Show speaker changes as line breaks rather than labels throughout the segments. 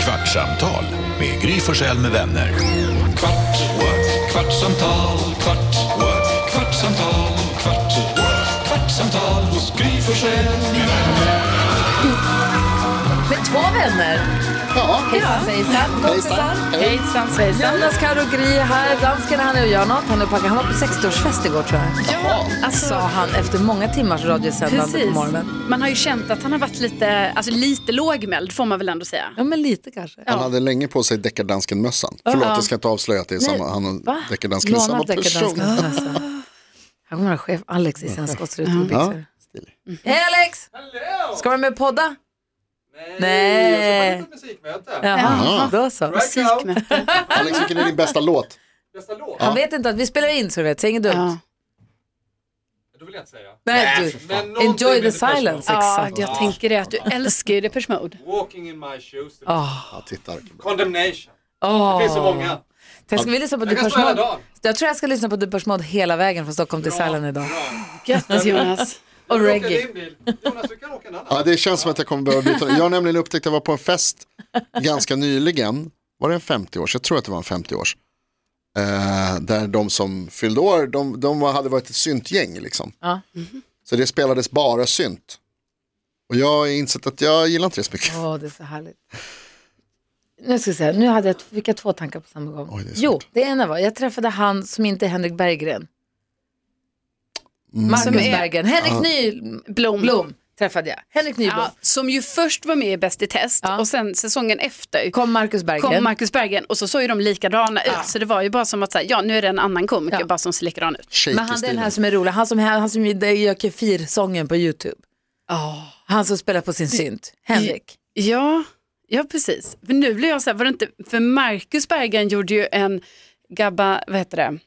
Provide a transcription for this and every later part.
Kvartsamtal med Gry Forssell med vänner. Kvart, what? kvartsamtal, kvart, what? kvartsamtal, kvart, what? kvartsamtal hos Gry Forssell med vänner.
Med två vänner.
Ja.
Hejsan svejsan, kompisar.
Hejsan svejsan.
Jonas, Karo och Gry är här. Dansken han är och gör något. Han, är och packar. han var på 60-årsfest igår tror jag.
Ja,
Sa
alltså,
han efter många timmars radiosändande på
precis.
morgonen.
Man har ju känt att han har varit lite, alltså lite lågmäld får man väl ändå säga.
Ja men lite kanske.
Han hade länge på sig deckardansken-mössan. Förlåt, jag ska inte avslöja att det är samma, han och
Va?
deckardansken är
Lånat
samma person.
deckardansken från Hasse. Här kommer vår chef Alex i sina skottrutor och byxor. Hej Alex! Ska du med och podda? Nej. Eh.
Ett musikmöte.
Jaha, då så.
Musikmöte.
Alex, vilken är din bästa låt?
Bästa låt?
Han vet inte att vi spelar in så du vet, säg inget dumt.
Ja.
Då vill jag inte säga.
Nej, du.
Men någonting
Enjoy
med
the
Depeche Mode.
silence,
ja,
exakt.
jag tänker det att du älskar ju Depeche Mode.
Walking in my shoes.
Ja, titta. vilken bra.
Condemnation. Det
Åh.
finns så många.
Jag ska vi lyssna på
Jag kan
Depeche
stå hela
Mode.
dagen.
Jag tror jag ska lyssna på Depeche Mode hela vägen från Stockholm till Sälen idag.
Grattis Jonas.
Du
Och
kan åka
reggae.
din bil. Jonas, du kan åka en annan.
Ja, det känns som att jag kommer behöva byta. Jag har nämligen upptäckt att jag var på en fest ganska nyligen. Var det en 50-års? Jag tror att det var en 50-års. Eh, där de som fyllde år, de, de var, hade varit ett syntgäng liksom.
Ja.
Så det spelades bara synt. Och jag har insett att jag gillar inte det så mycket.
Åh, det är så härligt. Nu ska jag säga, nu hade jag, fick jag två tankar på samma gång.
Oj, det är svårt.
jo, det ena var, jag träffade han som inte är Henrik Berggren.
Mm.
Marcus
Som är-
Berggren, Henrik Nyblom
Blom.
träffade jag. Henrik Nyblom.
Ja, som ju först var med i Bäst i test
Ja.
och sen säsongen efter kom,
Kom Marcus Berggren.
Marcus Berggren och så såg ju de likadana ut. Så det var ju bara som att så här, ja nu är det en annan komiker
Ja.
bara som ser likadan ut.
Shaky
Men han den här
stilen.
som är rolig, han som, han som gör Kefir-sången på YouTube.
Ah.
Han som spelar på sin synt, Henrik.
Ja, ja precis. För nu blir jag så här, var det inte, för Marcus Berggren gjorde ju en Gabba, vad heter det?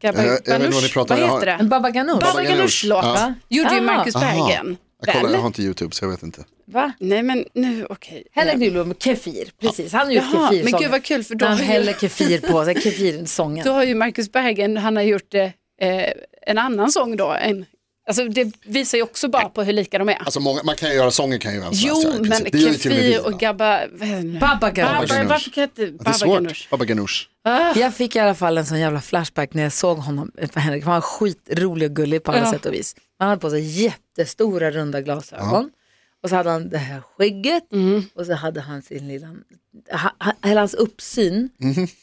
Gabba,
Eh, Jag- jag vet inte vad ni
Banush,
pratar om, jag har-
heter
Men
det?
Baba Ganoush.
Baba
Ganush,
Ganoush-låt
ja.
va? gjorde ju
Aha.
Marcus
Aha.
Berggren.
Jag, kollar,
väl?
jag har inte YouTube så jag vet inte.
Va?
Nej men nu, okej.
Henrik Nyblom, Kefir, precis. Han har gjort
Jaha,
Kefir-sången.
men gud vad kul för då
När han
har ju-
häller Kefir på sig, Kefir-sången.
Då har ju Marcus Berggren, han har gjort eh, eh, en annan sång då. En, alltså det visar ju också bara på hur lika de är.
Alltså många, man kan ju göra sånger kan ju vem som
jo,
helst göra i
men
princip. liksom. Det gör ju till med vi,
Kefir
va?
och Gabba, vad heter det nu?
Baba
Baba,
Ganoush.
Ganoush.
varför kan jag inte
Det är
Baba Ganoush?
svårt. Baba Ganoush.
Jag fick i alla fall en sån jävla flashback när jag såg honom, för Henrik, han var skitrolig och gullig på alla
Ja.
sätt och vis. Han hade på sig jättestora runda glasögon och så hade han det här skägget och så hade han sin lilla, ha- ha- hela hans uppsyn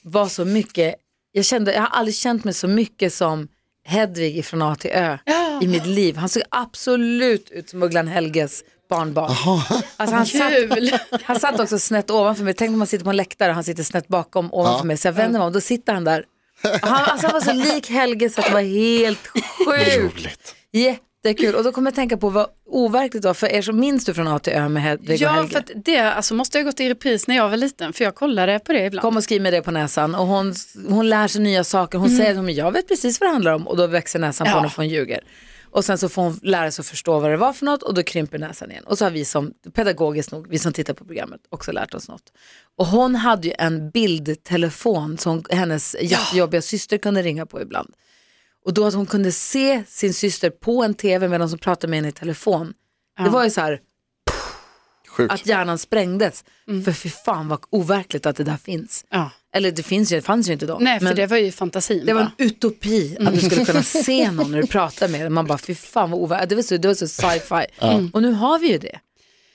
var så mycket, jag kände, jag har aldrig känt mig så mycket som Hedvig från A till Ö i mitt liv. Han såg absolut ut som Ugglan Helges barnbarn. Alltså han,
Kul!
satt, han satt också snett ovanför mig. Tänk om man sitter på en läktare och han sitter snett bakom ovanför mig. Så jag vänder mig om, då sitter han där. Han, alltså han var så lik Helge så att det var helt sjukt.
Roligt.
Jättekul. Och då kommer jag tänka på vad overkligt det var för er som minns du från A till Ö med Hedvig och
Ja,
Helge.
för att det alltså, måste jag ha gått i repris när jag var liten, för jag kollade på det ibland.
Kom och skriv med det på näsan och hon, hon lär sig nya saker. Hon säger att hon, jag vet precis vad det handlar om och då växer näsan på
Ja.
henne och hon ljuger. Och sen så får hon lära sig att förstå vad det var för något och då krymper näsan igen. Och så har vi som, pedagogiskt nog, vi som tittar på programmet också lärt oss något. Och hon hade ju en bildtelefon som hennes jättejobbiga syster kunde ringa på ibland. Och då att hon kunde se sin syster på en tv medan hon pratade med henne i telefon. Det var ju så här,
Sjukt.
att hjärnan sprängdes. För fy fan vad overkligt att det där finns.
Ja.
Eller det finns ju, det fanns ju inte då.
Nej, för
men
det var ju fantasin.
det var
va?
en utopi att du skulle kunna se någon när du pratar med den. Man bara, fy fan vad overkligt. Det var så, det var så sci-fi. Och nu har vi ju det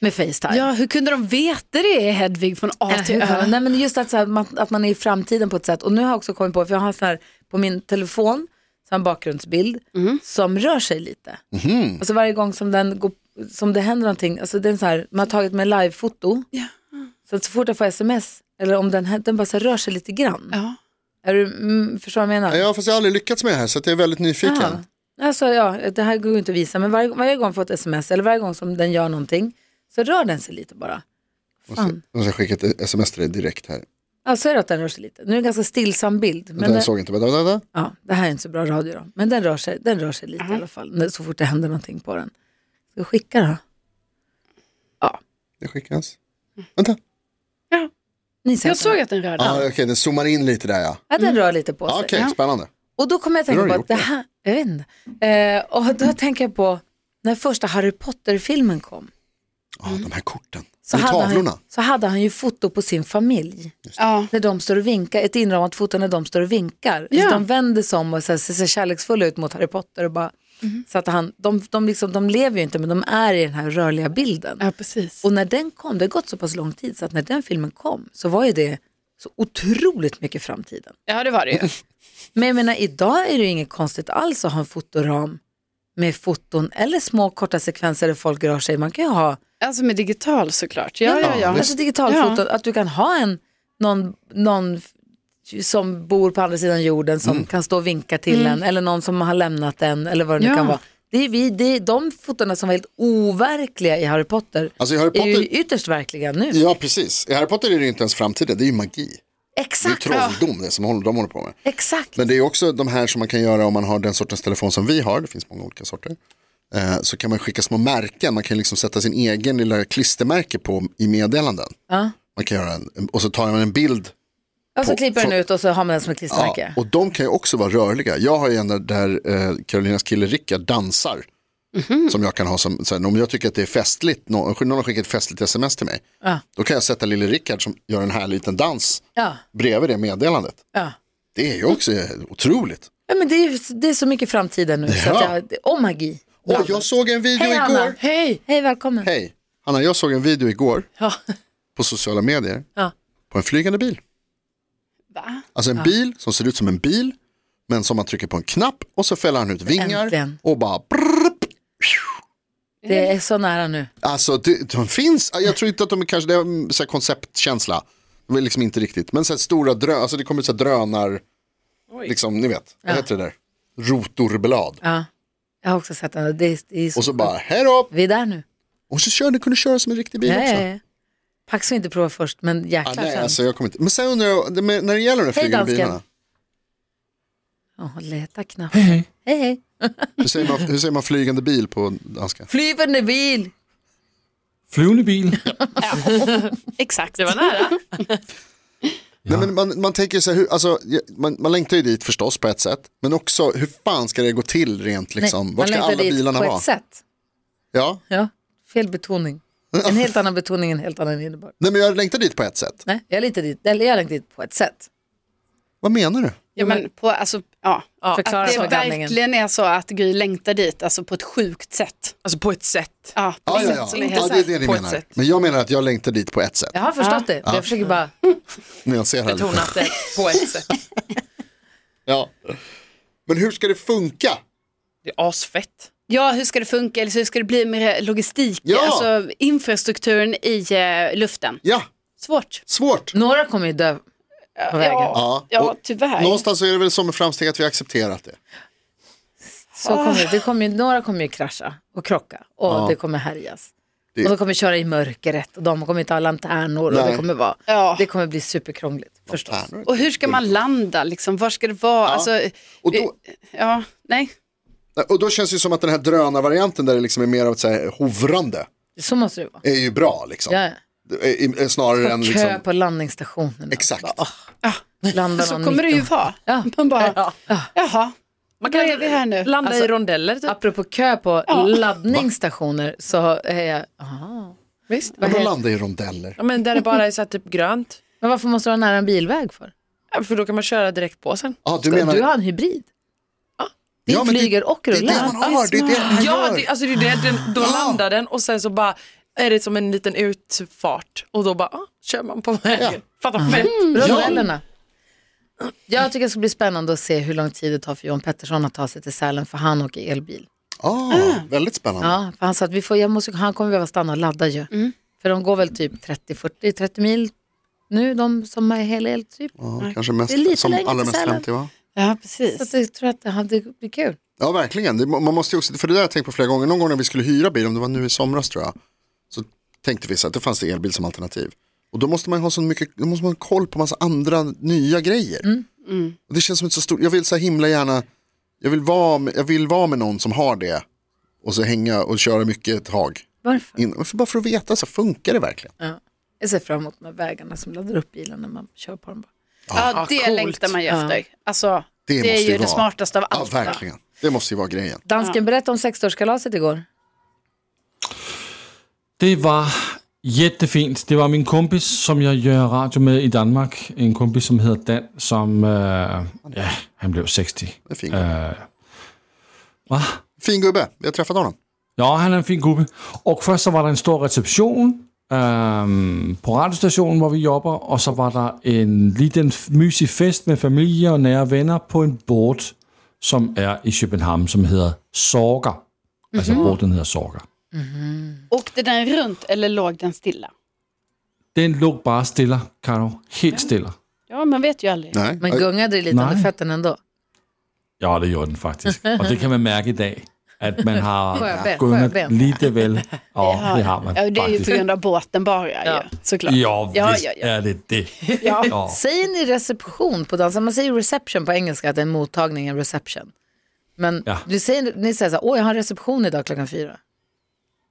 med Facetime.
Ja, hur kunde de veta det, Hedvig, från A
Äh,
till
hur kan man-
Ö?
Nej, men just att, så här, man, att man är i framtiden på ett sätt. Och nu har jag också kommit på, för jag har en sån här, på min telefon, så har jag en bakgrundsbild
Mm.
som rör sig lite.
Mhm.
Och så varje gång som, den går, som det händer någonting, alltså den så här, man har tagit med livefoto,
Ja.
så att så fort jag får sms, eller om den, här- den bara så här, rör sig lite grann.
Ja.
Är du, mm, förstår vad jag menar?
Ja, fast jag har aldrig lyckats med det här så att jag är väldigt nyfiken.
Ja. Alltså, ja, det här går ju inte att visa, men varje, varje gång jag får ett sms eller varje gång som den gör någonting så rör den sig lite bara. Fan.
Jag ska skicka ett sms till dig direkt här.
Ja, så är det att den rör sig lite. Nu är det en ganska stillsam bild.
Men
den-
jag såg inte. Vänta, vänta, vänta.
Ja, det här är inte så bra radio då. Men den rör sig, den rör sig lite i
Mm.
alla fall. när- Så fort det händer någonting på den. Ska jag skicka då?
Det skickas. Vänta.
Ni ser
Jag
den.
såg Mm. att den rörde.
Ja, Okej, den zoomar in lite där ja.
Ja, den rör lite på sig.
ja Okej, spännande.
Och då kommer jag
Hur
tänka
har
på
du
att det
gjort
här, jag vet inte. Eh, och då tänker jag på när första Harry Potter-filmen kom.
Ja, Ah, de här korten.
Så
det är
hade,
tavlorna.
han, så hade han ju foto på sin familj.
Ja.
När de står och vinkar, ett inramat foto när de står och vinkar. Alltså,
Ja.
De vänder sig om och så här, ser så kärleksfulla ut mot Harry Potter. Och bara,
Mm.
så att han, de, de, liksom, de lever ju inte men de är i den här rörliga bilden.
ja, precis.
Och när den kom, det har gått så pass lång tid så att när den filmen kom så var ju det så otroligt mycket framtiden.
Ja, det var det ju.
Men jag menar, idag är det ju inget konstigt alls att ha en fotoram med foton eller små korta sekvenser där folk rör sig. Man kan ju ha
Alltså med digital såklart. Ja, ja, ja.
alltså digitalfoton, att du kan ha en, någon, någon f- som bor på andra sidan jorden som
Mm.
kan stå och vinka till en eller någon som har lämnat en eller vad det nu
Ja.
kan vara. Det är, vi, det är de fotona som var helt overkliga i Harry Potter,
Alltså i Harry
är ju
Potter,
ytterst verkliga nu.
ja precis. I Harry Potter är det ju inte ens framtiden, det är ju magi. Det är ju
Exakt,
trolldom det som håller- de håller på med.
exakt.
Men det är ju också de här som man kan göra om man har den sortens telefon som vi har, det finns många olika sorter. Eh, Så kan man skicka små märken, man kan liksom sätta sin egen lilla klistermärke på i meddelanden. Man kan göra en, och så tar man en bild
och så
på-
klipper den
på-
ut och så har man den som ett klistermärke.
Ja, och de kan ju också vara rörliga. Jag har ju en där, där eh, Karolinas kille Rickard dansar.
Mhm.
Som jag kan ha som, så här, om jag tycker att det är festligt, någon, någon har skickat ett festligt sms till mig.
Ja.
Då kan jag sätta lille Rickard som gör en här liten dans
Ja,
bredvid det meddelandet.
ja.
Det är ju också otroligt.
ja men det, är, ju- det är så mycket framtiden nu. Så
Ja.
att jag, det- och magi.
Och jag såg en video
Hej,
igår.
Anna.
Hej!
Hej, välkommen.
Hej, Anna jag såg en video igår
Ja.
på sociala medier
Ja.
på en flygande bil.
Va?
Alltså en bil som ser ut som en bil men som man trycker på en knapp och så fäller han ut vingar
Äntligen.
och bara brrrp,
Det är så nära nu.
Alltså det, de finns, jag tror inte att de är kanske, det är en så här konceptkänsla. Det var liksom inte riktigt, men så här stora drön, alltså det kommer så här drönar, liksom ni vet, vad heter det där? Rotorblad.
Ja. Jag har också sett den. Det är, det är så
Och så bara, här då!
Vi är där nu.
Och så kör, den kunde köra som en riktig bil också.
Nej. Pax har inte prova först, men
Ah,
jäklar
nej,
sen.
alltså jag kommer inte. Men sen undrar jag, det med- när det gäller de här
Hej,
flygande
dansken.
bilarna,
Åh, leta knappt. Hej, hej.
hur säger, man, hur säger man flygande bil på danska?
Flyvande bil.
Flyvende bil.
Exakt. Det var nära.
Nej, men man, man tänker så här, hur, alltså, jag- man, man längtar ju dit förstås på ett sätt, men också hur fan ska det gå till rent liksom? Vart ska
man längtar
alla
dit
bilarna
på
vara?
ett sätt.
Ja.
Ja, fel betoning. En helt annan betoning, en helt annan innebörd.
Nej, men jag längtar dit på ett sätt.
Nej, jag längtar dit, eller jag längtar dit på ett sätt.
Vad menar du?
Ja, men på, alltså, ja.
Förklara
att det
församlingen.
verkligen är så att Gry längtar dit, alltså på ett sjukt sätt.
Alltså på ett sätt.
Ja, på
Ja,
ett
ja,
sätt
ja.
som är
ja
helt
det är det ni
på ett
menar.
sätt.
Men jag menar att jag längtar dit på ett sätt.
Jag har förstått det, jag försöker bara...
När jag ser här lite.
Betonat det på ett sätt.
Ja. Men hur ska det funka?
Det är asfett.
Ja, hur ska det funka? Eller så hur ska det bli med logistik?
Ja.
Alltså infrastrukturen i eh, luften.
Ja,
Svårt.
svårt.
Några kommer ju dö på vägen.
Ja,
ja
och
tyvärr.
Någonstans så är det väl som en framsteg att vi har accepterat det.
Så kommer
Ah.
det, det kommer, ju- några kommer ju krascha och krocka och det kommer härjas.
Det-
Och de kommer köra i mörkret och de kommer inte ha lanternor och
Nej.
det kommer vara,
Ja.
det kommer bli superkrångligt förstås.
Och hur ska man landa? Liksom? Var ska det vara? Alltså,
Och då,
ja, nej.
och då känns det ju som att den här drönarvarianten där det liksom är mer av ett så här hovrande
Så måste det vara.
är ju bra liksom.
Ja.
I- i- Snarare än
Kö
liksom,
på Ah, landningsstationen.
exakt.
Landar
Så
någon
kommer det
mitt
ju
om-
vara.
Ja.
Man bara, jaha,
Man
då är vi här nu. Alltså,
landa i rondeller typ.
Apropå kö på
Ja.
laddningsstationer så eh, är jag, aha.
Visst.
Ja, de landar i rondeller.
Ja, men där det bara är så här, typ grönt.
men varför måste du ha nära en bilväg för?
Ja, För då kan man köra direkt på sen.
Ja, du menar,
Du har en hybrid. Din
ja, men det-
flyger och
Det är det
rullar.
man har, det är det man
Ja,
gör.
det, alltså det är det. Den, då landar den och sen så bara är det som en liten utfart och då bara ah, kör man på vägen. Fattar fett.
Rondellerna. Jag tycker det ska bli spännande att se hur lång tid det tar för Johan Pettersson att ta sig till Sälen för han åker elbil.
Ah, väldigt spännande.
Ja, för han sa att vi får, jag måste, han kommer behöva stanna och ladda ju. För de går väl typ 30-40, 30 mil nu, de som är hel el typ.
Ja, kanske mest,
Det är lite
som
längre
allra
till
mest
Sälen.
50 va?
Ja,
Så att
precis.
jag tror att det, det blir kul.
Ja, verkligen. Det, man måste ju också, för det där har jag tänkt på flera gånger. Någon gång när vi skulle hyra bil, om det var nu i somras tror jag, så tänkte vi så att det fanns det elbil som alternativ. Och då måste man ju ha så mycket, då måste man ha koll på massa andra nya grejer. Och det känns som ett så stort, jag vill så här himla gärna, jag vill, vara med, jag vill vara med någon som har det och så hänga och köra mycket ett tag.
Varför?
In, för bara för att veta, så här, funkar det verkligen?
Jag ser fram emot de här vägarna som laddar upp bilen när man kör på dem. bara.
Ja, det längtar man ju efter. Alltså, det,
Ah, måste
är ju det
vara-
smartaste av allt.
Ja, verkligen. Det måste ju vara grejen.
Dansken, berätta om 60-årskalaset igår.
Det var jättefint. Det var min kompis som jag gör radio med i Danmark. En kompis som heter Dan som, eh, ja, han blev 60.
En fin, gubbe.
Eh, va?
fin gubbe, vi har träffat honom.
Ja, han är en fin gubbe. Och först så var det en stor reception ehm, på radiostationen där vi jobbar. Och så var det en liten f- mysig fest med familj och nära vänner på en båt som är i Köpenhamn som heter Sorger. Alltså båten heter Sorger.
Åkte den runt eller låg den stilla?
Den låg bara stilla, Karo. Helt stilla.
Ja, man vet ju aldrig.
Nej.
Men gungade det lite
Nej.
under fötterna ändå?
Ja, det gjorde den faktiskt. Och det kan man märka idag. Att man har
Sjöben,
gungat
sjöben.
lite väl. Ja, det har man
Ja, det är ju
faktiskt.
på grund av båten bara
Ja.
ju, såklart.
Ja,
Ja,
visst
ja, ja.
är det det. Ja.
Säger ni reception på danska? Man säger reception på engelska, att det är en mottagning, en reception. Men
Ja.
du säger, ni säger så här, åh jag har en reception idag klockan fyra.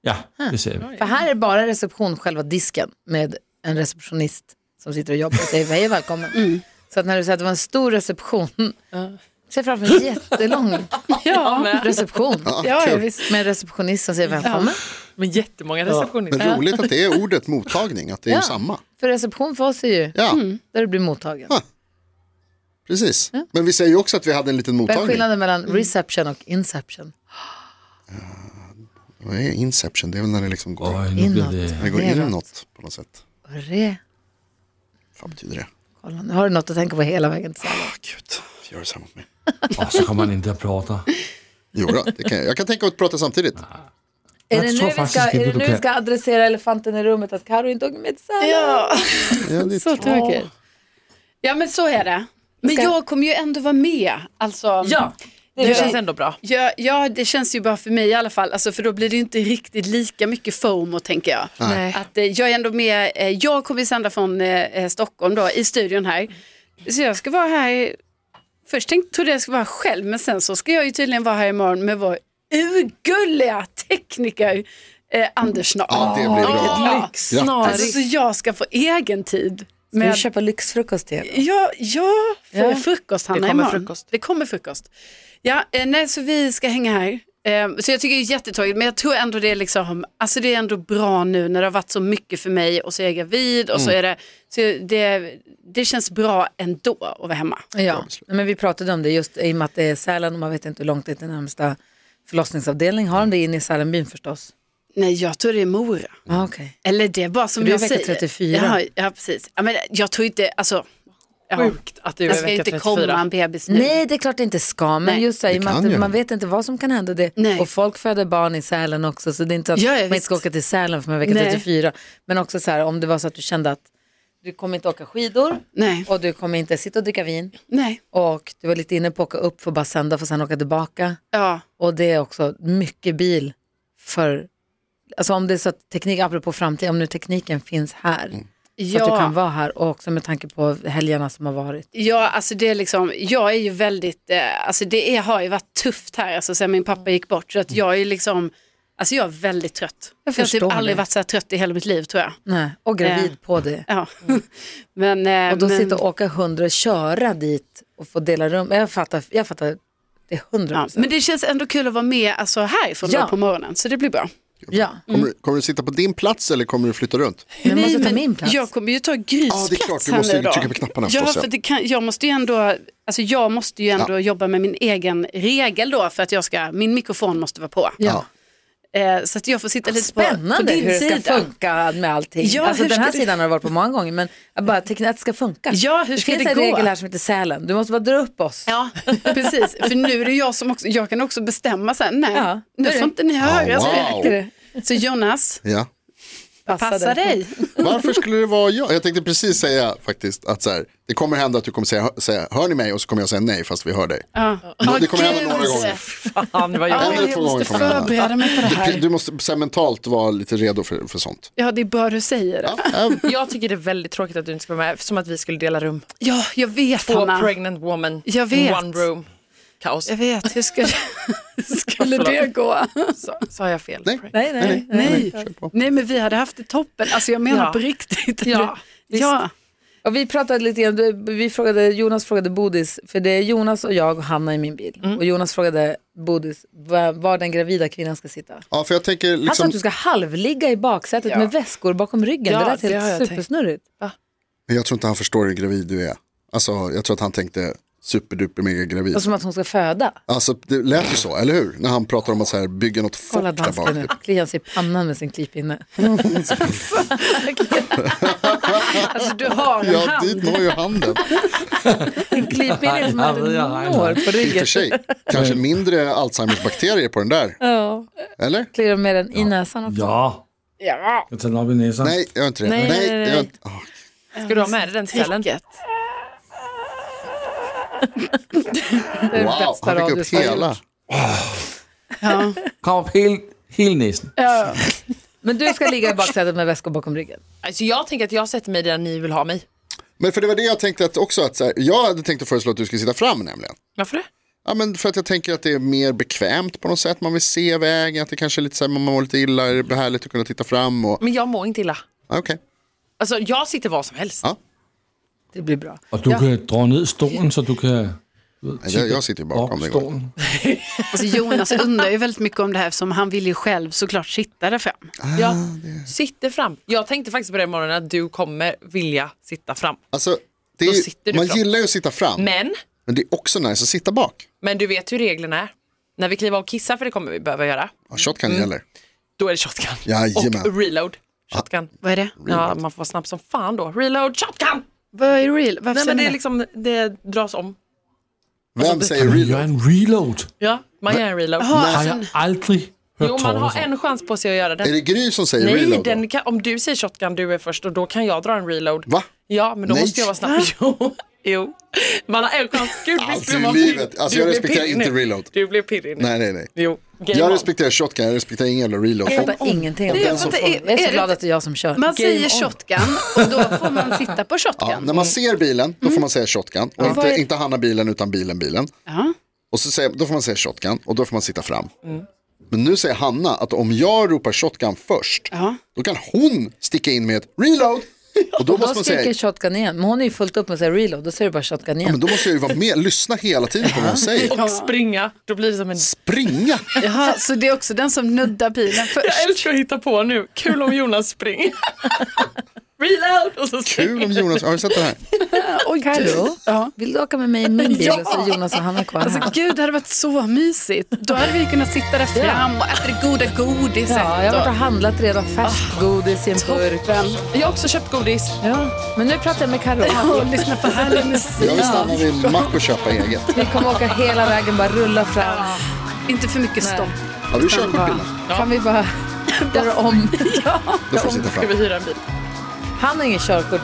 ja, det ser vi.
För här är bara reception, själva disken, med en receptionist som sitter och jobbar och säger hej och välkommen. Så att när du säger att det var en stor reception, ser jag framför mig en jättelång
Ja,
reception.
Ja, ja,
kul.
visst.
Med en receptionist som säger välkommen.
men jättemånga receptionister.
Men roligt att det är ordet mottagning, att det är
Ja. Mm.
ju samma.
För reception för oss är ju
Ja,
där du blir mottagen.
Ja, precis. Men vi säger ju också att vi hade en liten
Vad är
mottagning.
skillnaden mellan reception och inception?
Vad är inception? Det är väl när det liksom går,
Oj, nu blev
Inåt.
det...
när det går
det är något.
inåt på något sätt.
Re.
Vad betyder det?
Kolla, nu har du något att tänka på hela vägen till
Ah, gud, gör det så här mot mig.
Och så kommer man inte att prata.
Jo, då, det kan jag. jag kan tänka och prata samtidigt.
Är
Jag
det nu,
tror
vi ska,
faktiskt inte
är det
du
nu
kan.
vi ska adressera elefanten i rummet att Karo inte åker med till Sverige?
Ja,
Ja, det är
så
tråkigt.
tråkigt. Ja, men så är det. Men
Ska-
jag kommer ju ändå vara med. Alltså,
Ja, det känns ändå bra.
Ja, ja, det känns ju bra för mig i alla fall, alltså, för då blir det ju inte riktigt lika mycket FOMO tänker jag.
Nej.
Att, eh, jag är ändå med, eh, jag kommer ju sända från eh, eh, Stockholm då, i studion här. Så jag ska vara här, först tänkte, trodde jag skulle vara själv, men sen så ska jag ju tydligen vara här imorgon med vår urgulliga tekniker eh, Anders Snart.
Ja, det blir bra.
Ja.
Grattis.
Alltså, så jag ska få egen tid.
Ska
med-
vi köpa lyxfrukost till er?
Ja, ja, för
Ja.
frukost Hanna
Det kommer
imorgon.
frukost.
Det kommer frukost. Ja, eh, nej, så vi ska hänga här. Eh, så jag tycker det är jättetråkigt, men jag tror ändå det är liksom, alltså det är ändå bra nu när det har varit så mycket för mig och så är jag gravid och så är det, så det, det känns bra ändå att vara hemma.
Ja, Nej, men vi pratade om det just i och med att det är Sälen och man vet inte hur långt det är till närmsta förlossningsavdelning. Har de det inne i Sälenbyn förstås?
Nej, jag tror det är Mora.
Ja, okej.
Eller det är bara som
För du är
jag
vecka
säger.
34.
Jaha, ja, precis. Ja, men jag tror inte, alltså, ja,
Sjukt att du
jag
är
ska ju
vecka
inte komma
34.
en bebis nu.
Nej, det är klart det inte ska, men
Nej.
just så här, i och med
kan
att
ju.
man vet inte vad som kan hända. Det.
Nej.
Och folk föder barn i Sälen också, så det är inte så att
Ja, ja,
man inte
visst.
ska åka till Sälen för man är vecka
Nej.
34. Men också så här, om det var så att du kände att du kommer inte åka skidor
Nej,
och du kommer inte sitta och dricka vin
nej,
och du var lite inne på att åka upp för att bara sända för att sen åka tillbaka.
ja.
Och det är också mycket bil för, alltså om det är så att teknik, apropå framtid, om nu tekniken finns här. Så
ja.
att du kan vara här och också med tanke på helgerna som har varit.
Ja, alltså det är liksom, jag är ju väldigt, eh, alltså det är, har ju varit tufft här alltså sen min pappa gick bort. Så att jag är ju liksom, alltså jag är väldigt trött.
Jag
har typ
förstår
aldrig
det.
varit så här trött i hela mitt liv tror jag.
Nej, och gravid
Eh.
på det.
Ja. Men, eh,
Mm. Och då
men,
sitta och åka hundra och köra dit och få dela rum. Jag fattar, jag fattar det är hundra
ja.
procent.
men det känns ändå kul att vara med alltså härifrån
Ja.
då på morgonen, så det blir bra.
Ja,
Kommer, du- kommer du sitta på din plats eller kommer du flytta runt?
men jag måste
Nej,
ta
men
min plats.
Jag kommer ju ta Grys
Ja, det är klart,
plats
du
här
måste
nu då.
trycka på knapparna
ja,
förstås, ja.
för det kan, jag måste ju ändå, alltså jag måste ju ändå jobba med min egen regel då för att jag ska, min mikrofon måste vara på.
Ja.
Eh, så att jag får sitta lite på, på
Spännande
din
hur det ska
sida.
funka med allting.
Ja,
alltså,
hur
den
ska
här
det-
sidan har det varit på många gånger, men jag bara teknik- att det ska funka.
Ja, hur ska
det finns
det
en
gå?
regel här som heter Sälen. Du måste bara dra upp oss.
Ja, precis. För nu är det jag som också, jag kan också bestämma så här, nej,
Ja, det
nu
är
får
det.
inte ni höra.
Ja,
så, så Jonas,
ja.
Passa
passa
dig.
dig.
Varför skulle det vara jag? Jag tänkte precis säga faktiskt att så här, det kommer hända att du kommer säga, säga hör ni mig? Och så kommer jag säga nej fast vi hör dig.
Ja.
det kommer
Åh,
hända några
gud.
gånger.
Fan, vad jag...
En eller
jag
två gånger
måste
kommer det hända.
förbereda mig för det
Du,
här.
du måste så här, mentalt vara lite redo för, för sånt.
Ja, det är bra du säger det.
Ja, ja,
jag tycker det är väldigt tråkigt att du inte ska vara med, som att vi skulle dela rum.
Ja, jag vet
Två
Hanna.
pregnant woman
Jag
in
vet.
one room. Kaos.
Jag vet, hur skulle, skulle
Förlåt.
det gå?
Sa, sa jag fel?
Nej.
Pregnant.
Nej, nej. nej.
Nej.
kör på.
nej, men vi hade haft det toppen. Alltså jag menar
Ja.
på riktigt.
Ja,
ja.
Och vi pratade lite grann, vi frågade, Jonas frågade Bodis, för det är Jonas och jag och Hanna i min bil. Och Jonas frågade Bodis var, var den gravida kvinnan ska sitta.
Ja, för jag tänker
Han sa
liksom,
att du ska halvligga i baksätet med väskor bakom ryggen.
Ja,
det lät
det har jag
helt
tänkt.
supersnurrigt.
men jag tror inte han förstår hur gravid du är. Alltså, jag tror att han tänkte superduper mega gravid.
Och som att hon ska föda.
Alltså, det lät ju så, eller hur? När han pratar om att så här, bygga något fort
Kolla
där bak.
dansken nu, kliar sig i pannan med sin klipinne.
Alltså du har en
Ja,
hand.
dit når ju handen.
En klipinne är som
Ja,
att
det gör
den
han.
når på
I och för
ryggen.
sig, kanske mindre Alzheimers bakterier på den där.
Ja.
Eller?
Kliar med den i näsan också.
Ja. ja. Jag tar den upp i näsan.
Nej, jag gör inte det.
Nej, nej, nej,
jag gör
nej.
inte. Åh,
Ska du ha med dig den sällan?
Det är det
Wow,
bästa
han fick upp
radiosvar jag
hela.
gjort.
Kom upp hel, hel näsan.
Men du ska ligga i baksätet med väskor bakom ryggen.
Alltså jag tänker att jag sätter mig där ni vill ha mig.
Men för det var det jag tänkte att också, att så här, jag hade tänkt att föreslå att du skulle sitta fram nämligen.
Varför det?
Ja, men för att jag tänker att det är mer bekvämt på något sätt, man vill se vägen, att det kanske är lite så här, man mår lite illa, är det härligt att kunna titta fram och,
Men jag mår inte illa.
okej.
Alltså jag sitter var som helst.
Ja.
Det blir bra.
Och du kan dra ner stolen så du kan...
Jag, jag sitter ju bakom dig.
stolen.
Alltså Jonas undrar ju väldigt mycket om det här som han vill ju själv såklart sitta där fram.
Jag sitter fram. Jag tänkte faktiskt på det i morgonen att du kommer vilja sitta fram.
Alltså, det är
Då
ju,
sitter du
man
fram.
gillar ju att sitta fram, men,
Men,
det är också nice att sitta bak.
men du vet hur reglerna är. När vi kliver av och kissar, för det kommer vi behöva göra,
Ja, shotgun
Mm.
gäller.
då är det shotgun.
Jajamän. Ah,
Och reload. Shotgun.
Vad är det?
Ja, man får vara snabb som fan då. Reload, shotgun!
Vad är real? Varför
Nej
säger
men det
ni
är liksom, det dras om.
Vem säger
Jag gör
reload?
en reload.
Ja, man gör en reload.
Det har jag aldrig hört
Jo, man
talas
har
om.
en chans på sig att göra
Är
den.
det Gry som säger
Nej,
reload? då?
den kan, om du säger shotgun, du är först och då kan jag dra en reload.
Va?
Ja, men då
Nej. Ah.
måste jag vara snabb. Jo, jo. Man har en chans. Gud, visst
Alltså,
blir
i
man
livet.
pirrig.
Alltså,
Du
jag
blir
respekterar
pirrig
inte
nu.
reload.
Du blir pirrig nu.
Nej, nej, nej.
Jo, game
Jag
on.
respekterar shotgun, jag respekterar ingen jävla reload.
Jag
Folk,
fattar ingenting om
Det är
det.
för att det är-
Jag är
är
så
det-
glad att det är jag som kör.
Man säger shotgun och då får man sitta på
ja,
shotgun. Mm.
när man ser bilen, då får man säga shotgun. Och
Vad är-
inte, inte Hanna bilen, utan bilen bilen.
Ja. Mm.
Och så säger, då får man säga shotgun och då får man sitta fram. Men nu säger Hanna att om jag ropar shotgun först,
Ja.
då kan hon sticka in med ett reload. Och då
Då
måste man
skriker
säga,
shotgun igen. Men hon är ju fullt upp med att säga reload. Då säger du bara shotgun
ja, men
igen.
då måste jag ju vara med, lyssna hela tiden på vad hon säger.
Och springa, då blir det som en...
Springa!
Jaha, så det är också den som nuddar bilen
Jag
först.
älskar att hitta på nu. Kul om Jonas springer. reload! Och så springer.
Kul om Jonas, har du sett det här?
Oj, Karo,
Ja.
vill du åka med mig i min bil
Ja.
och så är Jonas och Hanna kvar
Alltså
här?
gud, det hade varit så mysigt. Då hade vi kunnat sitta där fram och äta det goda godiset.
Ja, jag har varit och
och...
handlat redan färskt godis i en burk.
Jag har också köpt godis.
Ja. Men nu pratar jag med Karo.
och lyssna på härlig
Jag vill
musik.
stanna vid en mack och köpa eget.
Vi kommer liksom åka hela vägen, bara rulla fram.
Inte för mycket stopp.
Har du körkort bilen?
Kan vi bara göra om?
Då får du sitta
Ska
fram.
vi hyra en bil?
Han har ingen körkort.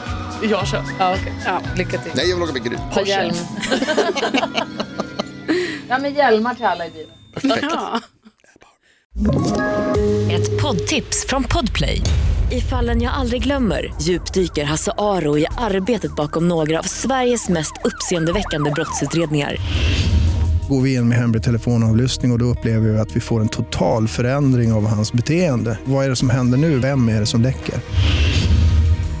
Jag kör.
Ja, okej. ja, lycka till.
Nej, jag vill åka med Gry.
Ta hjälm. ja, men hjälmar till alla i bilen.
Ett poddtips från Podplay. I fallen jag aldrig glömmer djupdyker Hasse Aro i arbetet bakom några av Sveriges mest uppseendeväckande brottsutredningar.
går vi in med hemlig telefonavlyssning och, och då upplever vi att vi får en total förändring av hans beteende. Vad är det som händer nu? Vem är det som läcker?